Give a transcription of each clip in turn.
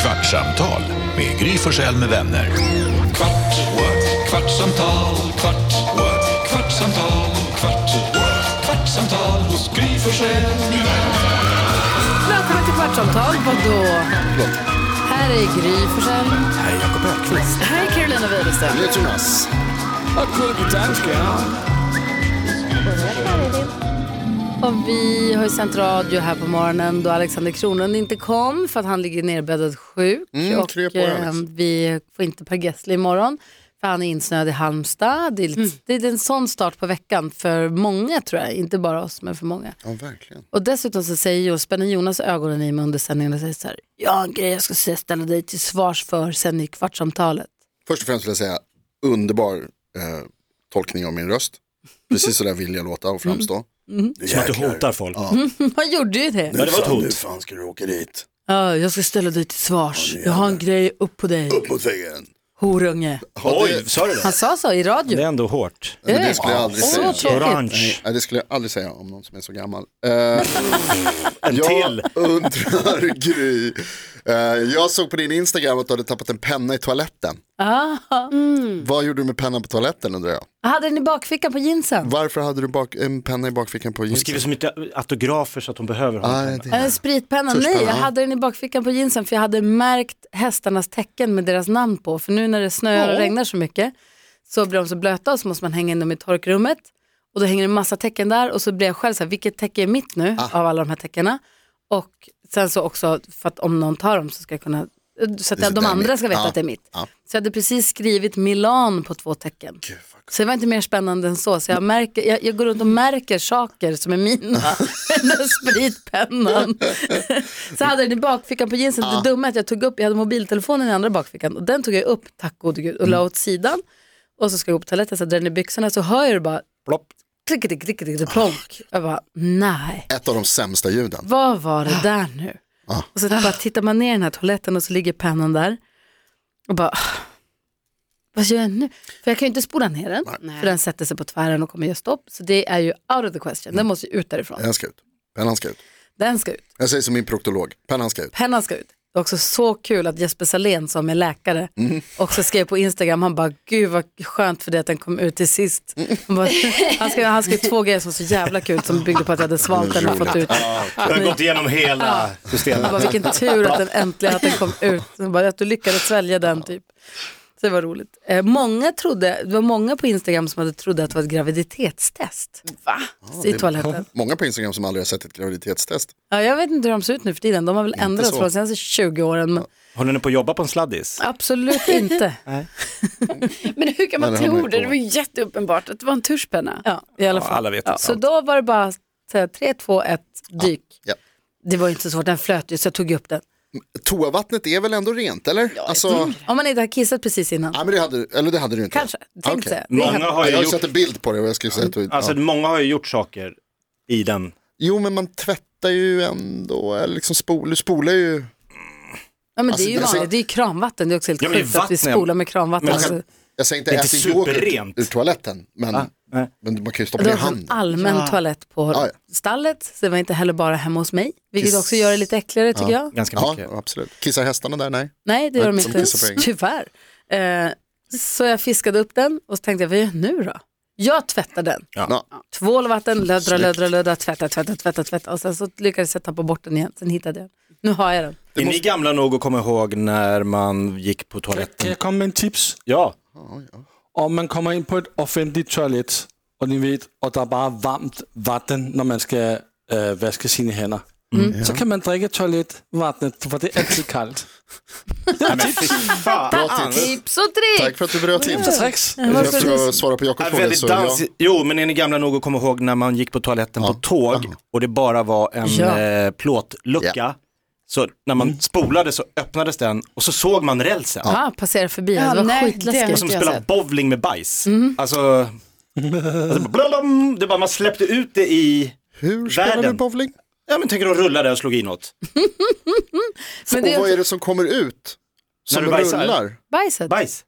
Kvartsamtal med Gry Forssell med vänner. Kvart, what? kvartsamtal, kvart, what? kvartsamtal, kvart, what? kvartsamtal hos Gry Forssell med vänner. Välkommen till Kvartsamtal. Vadå? Här är Gry Forssell. Här är Jakob Öqvist. Här är Carolina Widerström. är Jonas. Och vi har ju sänt radio här på morgonen då Alexander Kronlund inte kom för att han ligger nerbäddad sjuk. Mm, och eh, krya på dig, Alex. vi får inte Per Gessle imorgon för han är insnöad i Halmstad. Det är, lite, det är en sån start på veckan för många tror jag, inte bara oss men för många. Ja, verkligen. Och dessutom så säger jag, spänner Jonas ögonen i mig under sändningen och säger så här, jag har en grej jag ska säga- ställa dig till svars för sen i kvartsamtalet. Först och främst vill jag säga underbar eh, tolkning av min röst. Precis så där vill jag låta och framstå. Som att du hotar folk. Han gjorde ju det. Mm. Men det var ett hot. fan ska du åka dit? Ja, jag ska ställa dig till svars. Jag har en grej upp på dig, Mot väggen. horunge. Oj, sa du det? Han sa så i radio. Det är ändå hårt. Men det skulle jag aldrig Åh, säga. vad tråkigt. Orange. Nej, det skulle jag aldrig säga om någon som är så gammal. Eh, En till. jag undrar Gry, eh, jag såg på din Instagram att du hade tappat en penna i toaletten. Ah, Vad gjorde du med pennan på toaletten undrar jag? hade den i bakfickan på jeansen? Varför hade du bak- en penna i bakfickan på Hon jeansen? skriver så mycket autografer så att hon behöver honom. Nej, det- En spritpenna? Tuschpenna, Eh, Nej, jag ja. hade den i bakfickan på jeansen för jag hade märkt hästarnas tecken med deras namn på. För nu när det snöar och regnar så mycket så blir de så blöta och så måste man hänga in dem i torkrummet. Och då hänger det en massa tecken där och så blir jag själv så här, vilket täcke är mitt nu Ah. av alla de här teckena? Och sen så också för att om någon tar dem så ska jag kunna, så att Det är jag, så de där andra mitt. ska veta Ja. att det är mitt. Ja. Så jag hade precis skrivit Milan på två tecken. Så det var inte mer spännande än så. Så jag, märker, jag, jag går runt och märker saker som är mina. Den spritpennan. så hade jag den i bakfickan på jeansen. Det dumma är att jag tog upp, jag hade mobiltelefonen i andra bakfickan. Och den tog jag upp, tack gode gud, och la Mm. åt sidan. Och så ska jag gå på toaletten, så jag drar den i byxorna. Så hör jag det bara, Plopp. klick, klick, klick, klick, plonk. Jag bara, nej. Ett av de sämsta ljuden. Vad var det där nu? Och så bara tittar man ner i den här toaletten och så ligger pennan där. Och bara, "Ah, vad gör jag nu? För jag kan ju inte spola ner den. För den sätter sig på tvären och kommer göra stopp. Så det är ju out of the question. Den måste ju ut därifrån. Den ska ut. Pennan ska ut. Den ska ut. Jag säger som min proktolog, pennan ska ut. Pennan ska ut. Det är också så kul att Jesper Salén som är läkare också skrev på Instagram, han bara gud vad skönt för det att den kom ut till sist. Han, bara, han, skrev, han skrev två grejer som var så jävla kul som byggde på att jag hade svalt den och fått ut Jag har gått igenom hela systemet. Han bara, vilken tur att den äntligen att den kom ut. Han bara, att du lyckades svälja den typ. Så det var roligt. Eh, många trodde, det var många på Instagram som hade trodde att det var ett graviditetstest. Va? I toaletten. Många på Instagram som aldrig har sett ett graviditetstest. Ja, jag vet inte hur de ser ut nu för tiden. De har väl ändrats så. från de senaste 20 åren. Men Håller ni på att jobba på en sladdis? absolut inte. Men hur kan man Nej, det har man ju tro det? Det provat. var ju jätteuppenbart att det var en tuschpenna. Ja, i alla Ja, fall. alla vet det. Så då var det bara så här, 3, 2, 1, dyk. Ja. Det var ju inte så svårt, den flöt ju så jag tog ju upp den. Toavattnet är väl ändå rent eller? Ja, alltså, Om man inte har kissat precis innan. nej, men det hade, du- eller det hade du inte. Kanske, tänkte Okej. jag. Det Många har Jag, ju har sett gjort, en bild på det och jag skulle säga att du, alltså, ja. många har ju gjort saker i den. Jo men man tvättar ju ändå, eller liksom spol, du spolar ju. Ja, men Alltså, det är ju jag ser- vanligt, det är ju kranvatten, det är också helt Ja, men sjukt att vi vattnet- spolar med kranvatten. Men- alltså. Jag säger inte Det är ät inte en yoghurt superrent. Ah, ur toaletten, men, nej. men man kan ju stoppa Det ner var en handen. allmän toalett på Ja, ja. stallet, så det var inte heller bara hemma hos mig, vilket Kiss. också gör det lite äckligare tycker jag. Ganska Ja, mycket. absolut. Kissar hästarna där? Nej. Nej, det gör de Som inte, kissar på egen. tyvärr. Eh, så jag fiskade upp den och så tänkte jag, vad gör jag nu då? Jag tvättar den. Ja. Tvål och vatten, löddra, Snyggt. löddra, löddra, tvätta, tvätta, tvätta, tvätta. Och sen så lyckades jag tappa bort den igen, sen hittade jag den. Nu har jag den. Är ni gamla nog att komma ihåg när man gick på Kan toaletten? jeg komme med en tips? Ja, Om man kommer ind på et offentligt toilet, og ni ved, og der er bare varmt vatten, når man skal øh, vaske sine hænder, så kan man drikke toiletvatnet, for det er altid koldt. Bra tips. Tips och trick! Tack för att du bröt in. Så tricks. Jag ska svara på Jakobs Ja, fråga. väldigt så jag- dans... Jo, men är ni gamla nog att komma ihåg när man gick på toaletten på tåg och det bara var en Ja. eh, plåtlucka. Ja. Mm. Så när man spolade så öppnades den och så såg man rälsen. Ja, passerar förbi, Ja, det var nej, skitläskigt. det- Och som Jag har spelar sett. bowling med bajs. Mm. Alltså, alltså blablabla, det bara, man släppte ut det i, Hur spelar du Världen. bowling? ja men tänk dig de rullade och slog i något. Men Och det vad är alltså- är det som kommer ut? Som du bajsar? rullar? bajset. Bajs.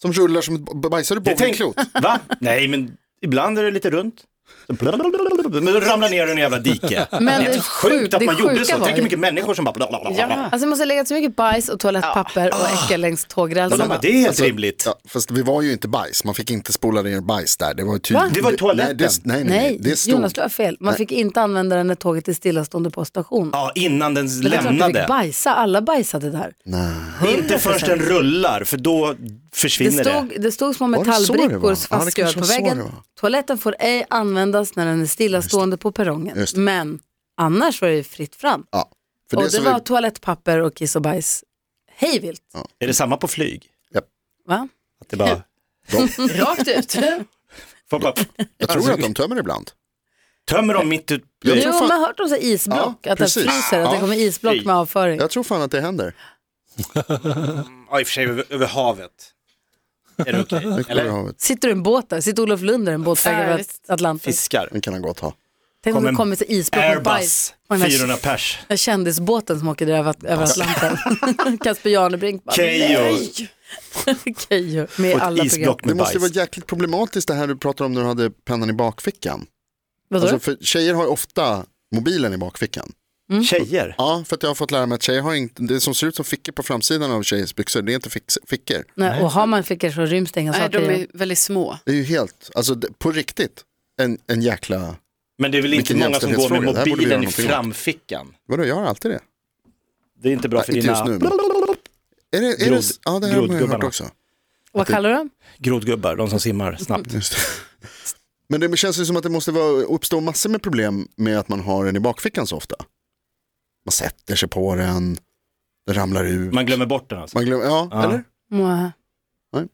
Som rullar som ett b- bajsar du Det tänk- bowlingklot? Va? Nej men ibland är det lite runt. Så blablabla, Men då ramlar ner i en jävla dike. Men det är så sjukt att det man gjorde sjuka så. var Tänk ju- hur mycket människor som bara blablabla. Ja. Alltså det måste ha legat så mycket bajs och toalettpapper och Alltså, äckel längs tågrälsarna. Det är helt rimligt. Alltså, Ja, fast vi var ju inte bajs, man fick inte spola ner bajs där. Det var Va? ju tydligt. Det var i toaletten. Nej, det, nej, nej, Nej, det stod. Jonas du har fel. Man fick inte använda den när tåget är stillastående på station. Ja, innan den Men det är klart att vi fick lämnade. bajsa, alla bajsade där. Inte förrän den rullar, för då Det försvinner det. stod, det stod små det så det metallbrickor var? Ja, fastskruvade det på kanske var så väggen. det var. Toaletten får ej användas när den är stillastående på perrongen. Just det. Men annars var det ju fritt fram. Ja. För Och det som var vi- toalettpapper och kiss och bajs hejvilt. Är det samma på flyg? Va? Att det bara... Rakt ut. Folk bara jag tror att de tömmer ibland. tömmer dem mitt ut. Jag Jo, tror fan- man har hört om så här isblock, Ja, att det precis. fryser, att det Ja. kommer isblock med avföring. Jag tror fan att det händer. Ja, i och för sig över, över havet. Är det okej? Det kan, Eller? ha, Sitter du i en båt där? Sitter Olof Lund i en båt Ja, över visst. Atlanten? Fiskar. det kan han gott ha. Tänk om Kom det en kommer så isblock med bajs. Airbus, Och den här 400 pers. Den kändisbåten som åker där över, över Atlanten. Kasper Janebrink bara, Keyyo. nej. Keyyo med Och alla ett program. isblock Det med måste ju vara bajs. jäkligt problematiskt det här du pratar om när du hade pennan i bakfickan. Vadå? Alltså, för tjejer har ju ofta mobilen i bakfickan. Mm. Tjejer. Ja, för att jag har fått lära mig att tjejer har inte, det som ser ut som fickor på framsidan av tjejers byxor, det är inte fix- fickor. nej, och har man fickor så ryms det inga Nej, saker de i är dem. väldigt små. Det är ju helt, alltså det- på riktigt, en, en jäkla, Men det är väl inte Vilken många som går med jämställdhetsfråga. Det här borde vi göra mobilen i någonting åt. framfickan. vadå jag har alltid det. Det är inte bra Nej, för inte dina just nu, men- Är det, är Grod- det, ja det här har man ju hört grodgubbarna. också. Vad kallar du dem? grodgubbar, de som simmar snabbt. Just det. Men det känns ju som att det måste vara, uppstå massor med problem med att man har den i bakfickan så ofta. Man sätter sig på den, den ramlar ut. Man glömmer bort den alltså. Man glömmer, ja, Ja. eller? Nej. Nej.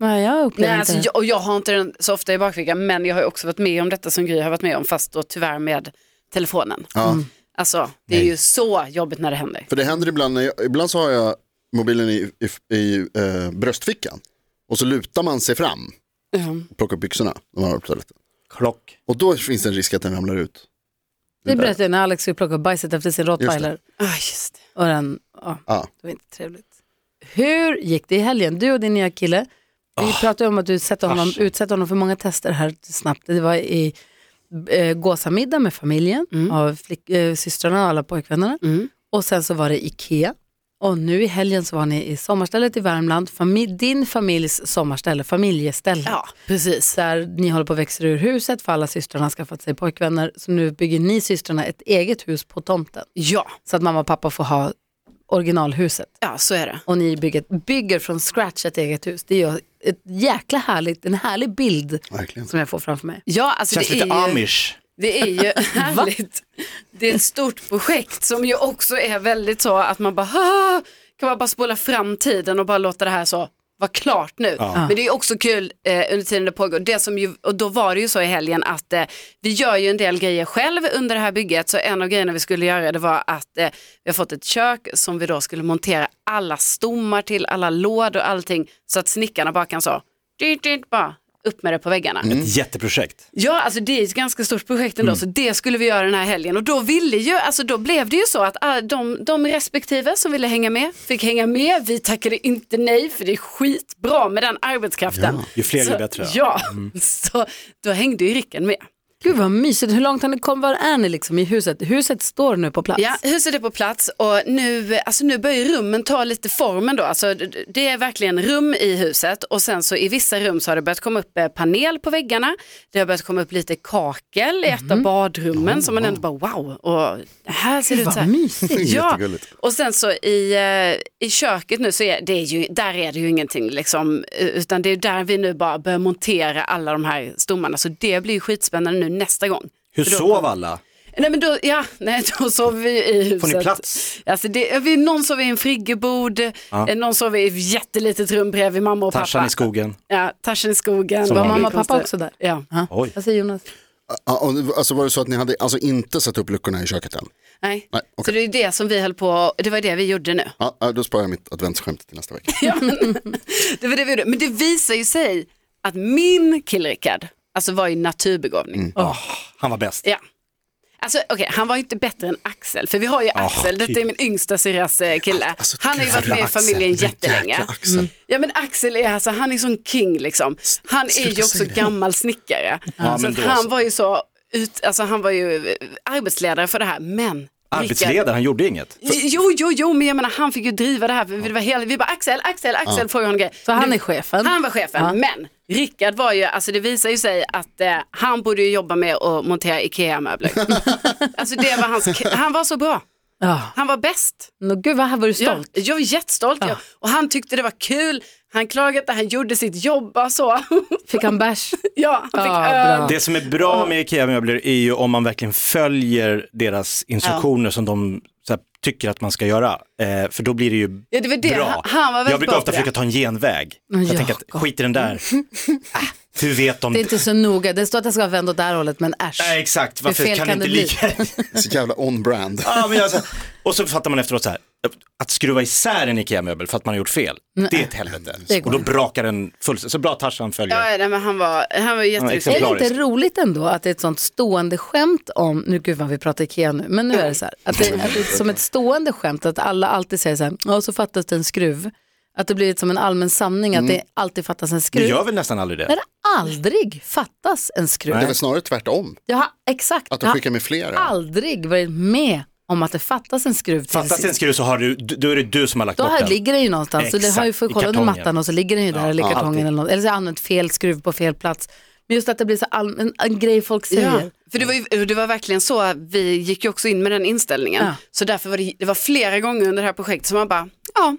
Nej, jag Nej, upplever inte alltså, det. jag, och jag har inte den så ofta i bakfickan, men jag har ju också varit med om detta som Gry har varit med om, fast då tyvärr med telefonen. Ja. Mm. Alltså, det är ju så jobbigt när det händer. För det händer ibland, när jag, ibland så har jag mobilen i, i, i eh, bröstfickan och så lutar man sig fram och plockar upp byxorna. när man har på toaletten. Klock. Och då finns det en risk att den ramlar ut. Det berättade jag när Alex skulle plocka upp bajset efter sin rottweiler. Ah, just det. Och den, ja, Ja. det var inte trevligt. Hur gick det i helgen? Du och din nya kille, vi Ah, pratade ju om att du utsätter honom, utsätter honom för många tester här snabbt. Det var i eh, gåsamiddag med familjen, Mm. av flick, eh, systrarna och alla pojkvännerna. Och sen så var det Ikea. Och nu i helgen så var ni i sommarstället i Värmland, fami- din familjs sommarställe, familjeställe. Ja, precis. Där ni håller på att växa ur huset för alla systrarna har skaffat sig pojkvänner. Så nu bygger ni systrarna ett eget hus på tomten. Ja, Så att mamma och pappa får ha originalhuset. ja, så är det. Och ni bygger, bygger från scratch ett eget hus. Det är ett jäkla härligt, en härlig bild Verkligen. som jag får framför mig. Ja, alltså Känns det lite är ju... amish. Det är ju härligt. Det är ett stort projekt som ju också är väldigt så att man bara "Ah", kan man bara spola fram tiden och bara låta det här så vara klart nu. Men det är ju också kul eh, under tiden det pågår. Det som ju, och då var det ju så i helgen att eh, vi gör ju en del grejer själv under det här bygget. Så en av grejerna vi skulle göra det var att eh, vi har fått ett kök som vi då skulle montera alla stommar till, alla lådor och allting. Så att snickarna bara kan så, dyrt, dyrt, bara upp med det på väggarna. Mm. Ett jätteprojekt. Ja, alltså det är ett ganska stort projekt Mm. ändå, så det skulle vi göra den här helgen. Och då ville ju, alltså då blev det ju så att ah, de, de respektive som ville hänga med fick hänga med. Vi tackade inte nej, för det är skitbra med den arbetskraften. Ju fler så, ju bättre. Mm. Ja, så då hängde ju Rickard med. Gud vad mysigt, hur långt har ni kommit, var är ni liksom i huset? Huset står nu på plats. Ja, huset är på plats och nu, alltså nu börjar ju rummen ta lite formen då. Alltså, d- det är verkligen rum i huset och sen så i vissa rum så har det börjat komma upp eh, panel på väggarna. Det har börjat komma upp lite kakel i Mm. ett av badrummen som man ändå bara wow, och här ser det ut så här. Vad mysigt. Ja, Jättegulligt. och sen så i, eh, i köket nu så är det är ju, där är det ju ingenting liksom, eh, utan det är där vi nu bara börjar montera alla de här stommarna. Så det blir ju skitspännande nu nästa gång. Hur För då- sov alla? Nej men då, ja, nej, då sov vi i huset. Får ni plats? Alltså det, vi, någon sov i en friggebod, eh, någon sov i ett jättelitet rum bredvid mamma och Tarzan pappa. i skogen. Ja, Tarzan i skogen. Var Det mamma och konstigt. pappa också där? Ja. Ja. Oj. Vad säger Jonas? Ja, och, alltså var det så att ni hade alltså, inte satt upp luckorna i köket än? Nej. Nej, okej. Så det är det som vi höll på, det var det vi gjorde nu. Ja, ja, då sparar jag mitt adventsskämt till nästa vecka. Det var det vi gjorde. Men det visar ju sig Mm. att min kille Rickard, alltså var ju naturbegåvning. Han var bäst. Ja. Alltså okej, han var ju inte bättre än Axel, för vi har ju Axel, detta är min yngsta syrras eh, kille. Alltså, han har ju varit med i familjen jättelänge. Mm. Ja men Axel är alltså, han är sån king liksom. Han är ju också gammal snickare. så men att då han så. var ju så, ut, alltså han var ju eh, arbetsledare för det här, men Rickard- Arbetsledare, han gjorde inget. Jo, jo, jo, men jag menar han fick ju driva det här. för Det var hela, vi bara Axel, Axel, Axel frågade honom grejer. Så han Nu- är chefen. Han var chefen, Ja. men Rickard var ju, alltså det visar ju sig att eh, han borde ju jobba med att montera IKEA-möbler. alltså det var hans, han var så bra. Ja. Han var bäst. Nå, gud vad här var du Ja, stolt. jag var jättestolt. Ja. Och han tyckte det var kul. Han klagade inte, han gjorde sitt jobb och så. Fick han bärs? ja, han fick Ja, öl. bra. Det som är bra med IKEA-möbler är ju om man verkligen följer deras instruktioner som de så här, tycker att man ska göra. Eh, för då blir det ju Ja, det var det. bra. Han- han var väldigt jag brukar bra ofta på det. försöka ta en genväg. jag tänker att Jakob. skit i den där. Ah, hur vet de? Det är inte så noga. Det står att jag ska vända åt det här hållet, men äsch. Nej, exakt, varför fel kan, kan det det inte lika? Så jävla on-brand. ja, men jag, så, och så fattar man efteråt så här, att skruva isär en IKEA-möbel för att man har gjort fel, det är ett helvete. Det går Och då inte. brakar den fullständigt. Så bra Tarzan följer. Ja, nej, men han var, han var jätteduktig. Är det exemplariskt. inte roligt ändå att det är ett sånt stående skämt om, nu gud vad vi pratar Ikea nu, men nu är det så här, att det, att det är som ett stående skämt att alla alltid säger så här, ja så fattas det en skruv. Att det blir som en allmän sanning att det Mm. alltid fattas en Det skruv. gör väl nästan aldrig det? När det aldrig fattas en skruv. Det är väl snarare tvärtom. Jag har, exakt, Att jag de har skickar med flera. aldrig varit med om att det fattas en skruv till en Fattas det en skruv så har du, då är det du som har lagt Då bort här den. ligger den ju någonstans. så det har ju Exakt, fått i kolla under kartongen. mattan och så ligger den ju där eller i ja, kartongen alltid. eller något. Eller så har jag använt fel skruv på fel plats. Men just att det blir så all, en, en grej folk säger. Ja, för det var, ju, det var verkligen så, vi gick ju också in med den inställningen. Ja. Så därför var det, det var flera gånger under det här projektet som man bara, ja,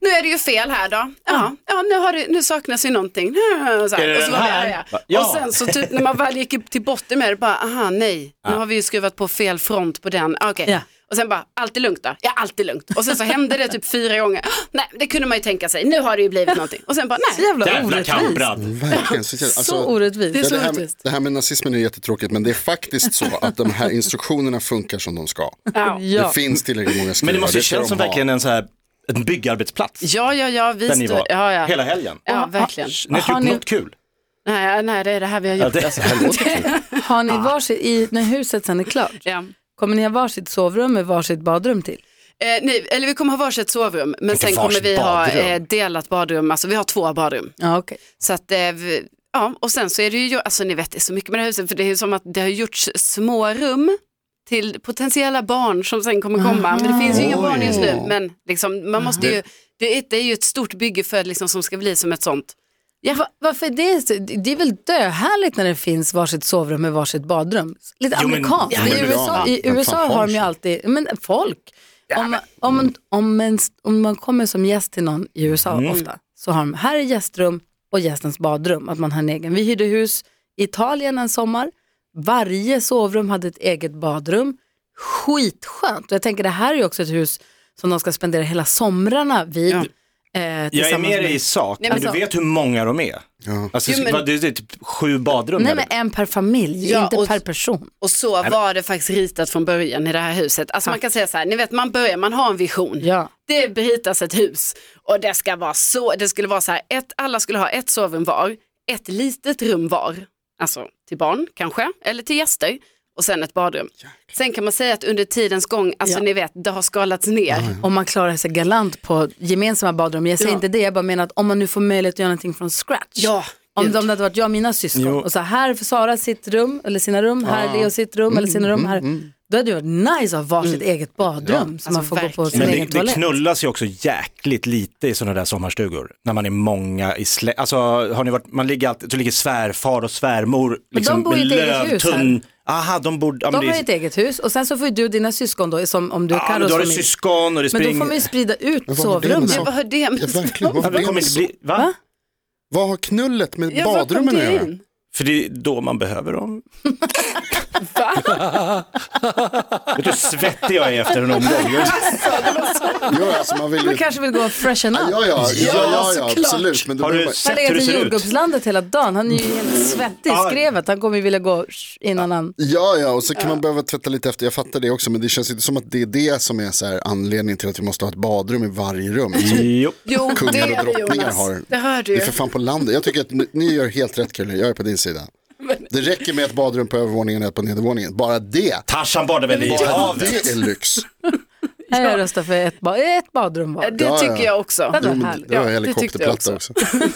nu är det ju fel här då. Ja, ja nu, har det, nu saknas ju någonting. Så Är det och så den var vi här? arga. Ja. Och sen så typ när man väl gick upp till botten med det, bara, aha nej, nu har vi ju skruvat på fel front på den. Ah, okej. Ja. Och sen bara, allt är lugnt då? Ja, allt är lugnt. Och sen så hände det typ fyra gånger. Nej, det kunde man ju tänka sig. Nu har det ju blivit någonting. Och sen bara, Så nej. jävla Jävla orättvist. Mm. kamprad. Verkligen. Så, jävla- alltså- så orättvist. Ja, det, här, det här med nazismen är jättetråkigt men det är faktiskt så att de här instruktionerna funkar som de ska. Ja. Ja. Det finns tillräckligt många skruvar. Men det måste ju ska de kännas som ha. verkligen en, så här, en byggarbetsplats. Ja, ja, ja, vi där ni stod, var ja, ja. hela helgen. ja, verkligen. Ni har Har ni- gjort typ alltså, något kul. Nej, nej, det är det här vi har Ja, gjort. det, Har ni varsitt, i, när huset sen är klart, Ja. kommer ni ha varsitt sovrum med varsitt badrum till? Eh, nej, eller vi kommer ha varsitt sovrum, men Vilket sen kommer varsitt vi ha badrum? eh, delat badrum, alltså vi har två badrum. Ja, okej. Så att, eh, vi, ja, och sen så är det ju, alltså ni vet det är så mycket med det här huset, för det är ju som att det har gjorts små rum till potentiella barn som sen kommer komma, men det finns ju inga barn just nu, men liksom, man måste ju, det är, det är ju ett stort bygge för liksom, som ska bli som ett sånt. Va, varför är det, så- det är väl döhärligt när det finns varsitt sovrum med varsitt badrum. Lite Jo, men- amerikanskt. ja, men I det är USA, bra. i Vem USA fan har har de ju sig? alltid, men folk. om, man- om, man- om, en, om man kommer som gäst till någon i USA Mm. ofta, så har de, här är gästrum och gästens badrum, att man har en egen. Vi hyrde hus i Italien en sommar, varje sovrum hade ett eget badrum. Skitskönt, och jag tänker det här är ju också ett hus som de ska spendera hela somrarna vid. Ja. Eh, jag är tillsammans med med- dig i sak, Nej, men, men du alltså- vet hur många de är. Ja. Alltså, Jo, men- vad- det är typ sju badrum. Nej eller? men en per familj, Ja, inte och- per person. Och så var det faktiskt ritat från början i det här huset. Alltså man kan säga så här, ni vet man börjar, man har en vision. Ja. Det ritas ett hus och det ska vara så, det skulle vara så här, ett, alla skulle ha ett sovrum var, ett litet rum var, alltså till barn kanske, eller till gäster och sen ett badrum. Sen kan man säga att under tidens gång, alltså Ja. ni vet, det har skalats ner. Om man klarar sig galant på gemensamma badrum. Jag säger Ja. inte det, jag bara menar att om man nu får möjlighet att göra någonting från scratch. Ja, Om gud. det om det hade varit jag och mina syskon Jo. och så här för Sara sitt rum, eller sina rum, här Leo sitt rum, eller sina rum här. Då hade det varit nice att ha varsitt eget badrum så man får gå på sin Men egen det, det toalett. knullas ju också jäkligt lite i sådana där sommarstugor. När man är många i slä... Alltså har ni varit, man ligger alltid, så ligger svärfar och svärmor liksom, de bor i med ett eget hus här. lövtunn. Aha, de bor... Ja, men De det har är- ju ett eget hus och sen så får ju du och dina syskon då, som om du Ja, kan men och då har du familj. syskon och det Men springer... då får man ju sprida ut Men vad har det med sovrummen. saker? Vad har det Ja, med verkligen. Vad, Ja, har men det kommer med, inte så- bli... Va? vad har knullet med Ja, var kom badrummen att det göra? in? För det är då man behöver dem. Va? Vet du hur svettig jag är efter en omgång? Ja, alltså, man vill Man ju... kanske vill gå och freshen Ja, up. ja, ja, ja, ja absolut. Men då Har du blir man- sett Han har hur det legat i ser ut? Mm. jordgubbslandet hela dagen. Han är ju helt svettig i Ja. skrevet. Han kommer ju vilja gå sh- innan han... Ja, ja, och så kan man behöva tvätta lite efter. Jag fattar det också, men det känns inte som att det är det som är så här anledningen till att vi måste ha ett badrum i varje rum. Som Jo. Jo, Mm. det kungar och är det drottningar Jonas. har. Det hör du Det ju. är för fan på landet. Jag tycker att ni- ni gör helt rätt, Krille. Jag är på din sida. Det räcker med ett badrum på övervåningen och ett på nedervåningen. Bara det. Tarzan badar väl i Bara havet? det är lyx. Nej, Jag röstar för ett, ba- ett badrum var. Det Ja, tycker ja. jag också. Det var Jo, men härligt. Det var Ja, det tyckte jag helikopterplatta också. Kvartsamtal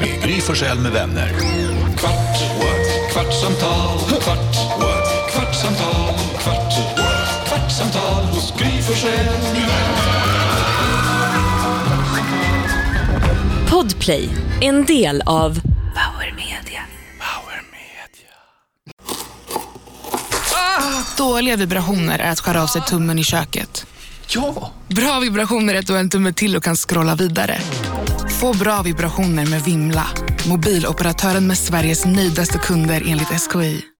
med Gry Forssell med vänner. Kvart, what? kvartsamtal, kvart, what? kvartsamtal, kvart, what? kvartsamtal hos Gry Forssell med vänner. Podplay, en del av Power Media. Dåliga vibrationer är att skära av sig tummen i köket. Ja! Bra vibrationer är att du har en tumme till och kan scrolla vidare. Få bra vibrationer med Vimla. Mobiloperatören med Sveriges nöjdaste kunder enligt SKI.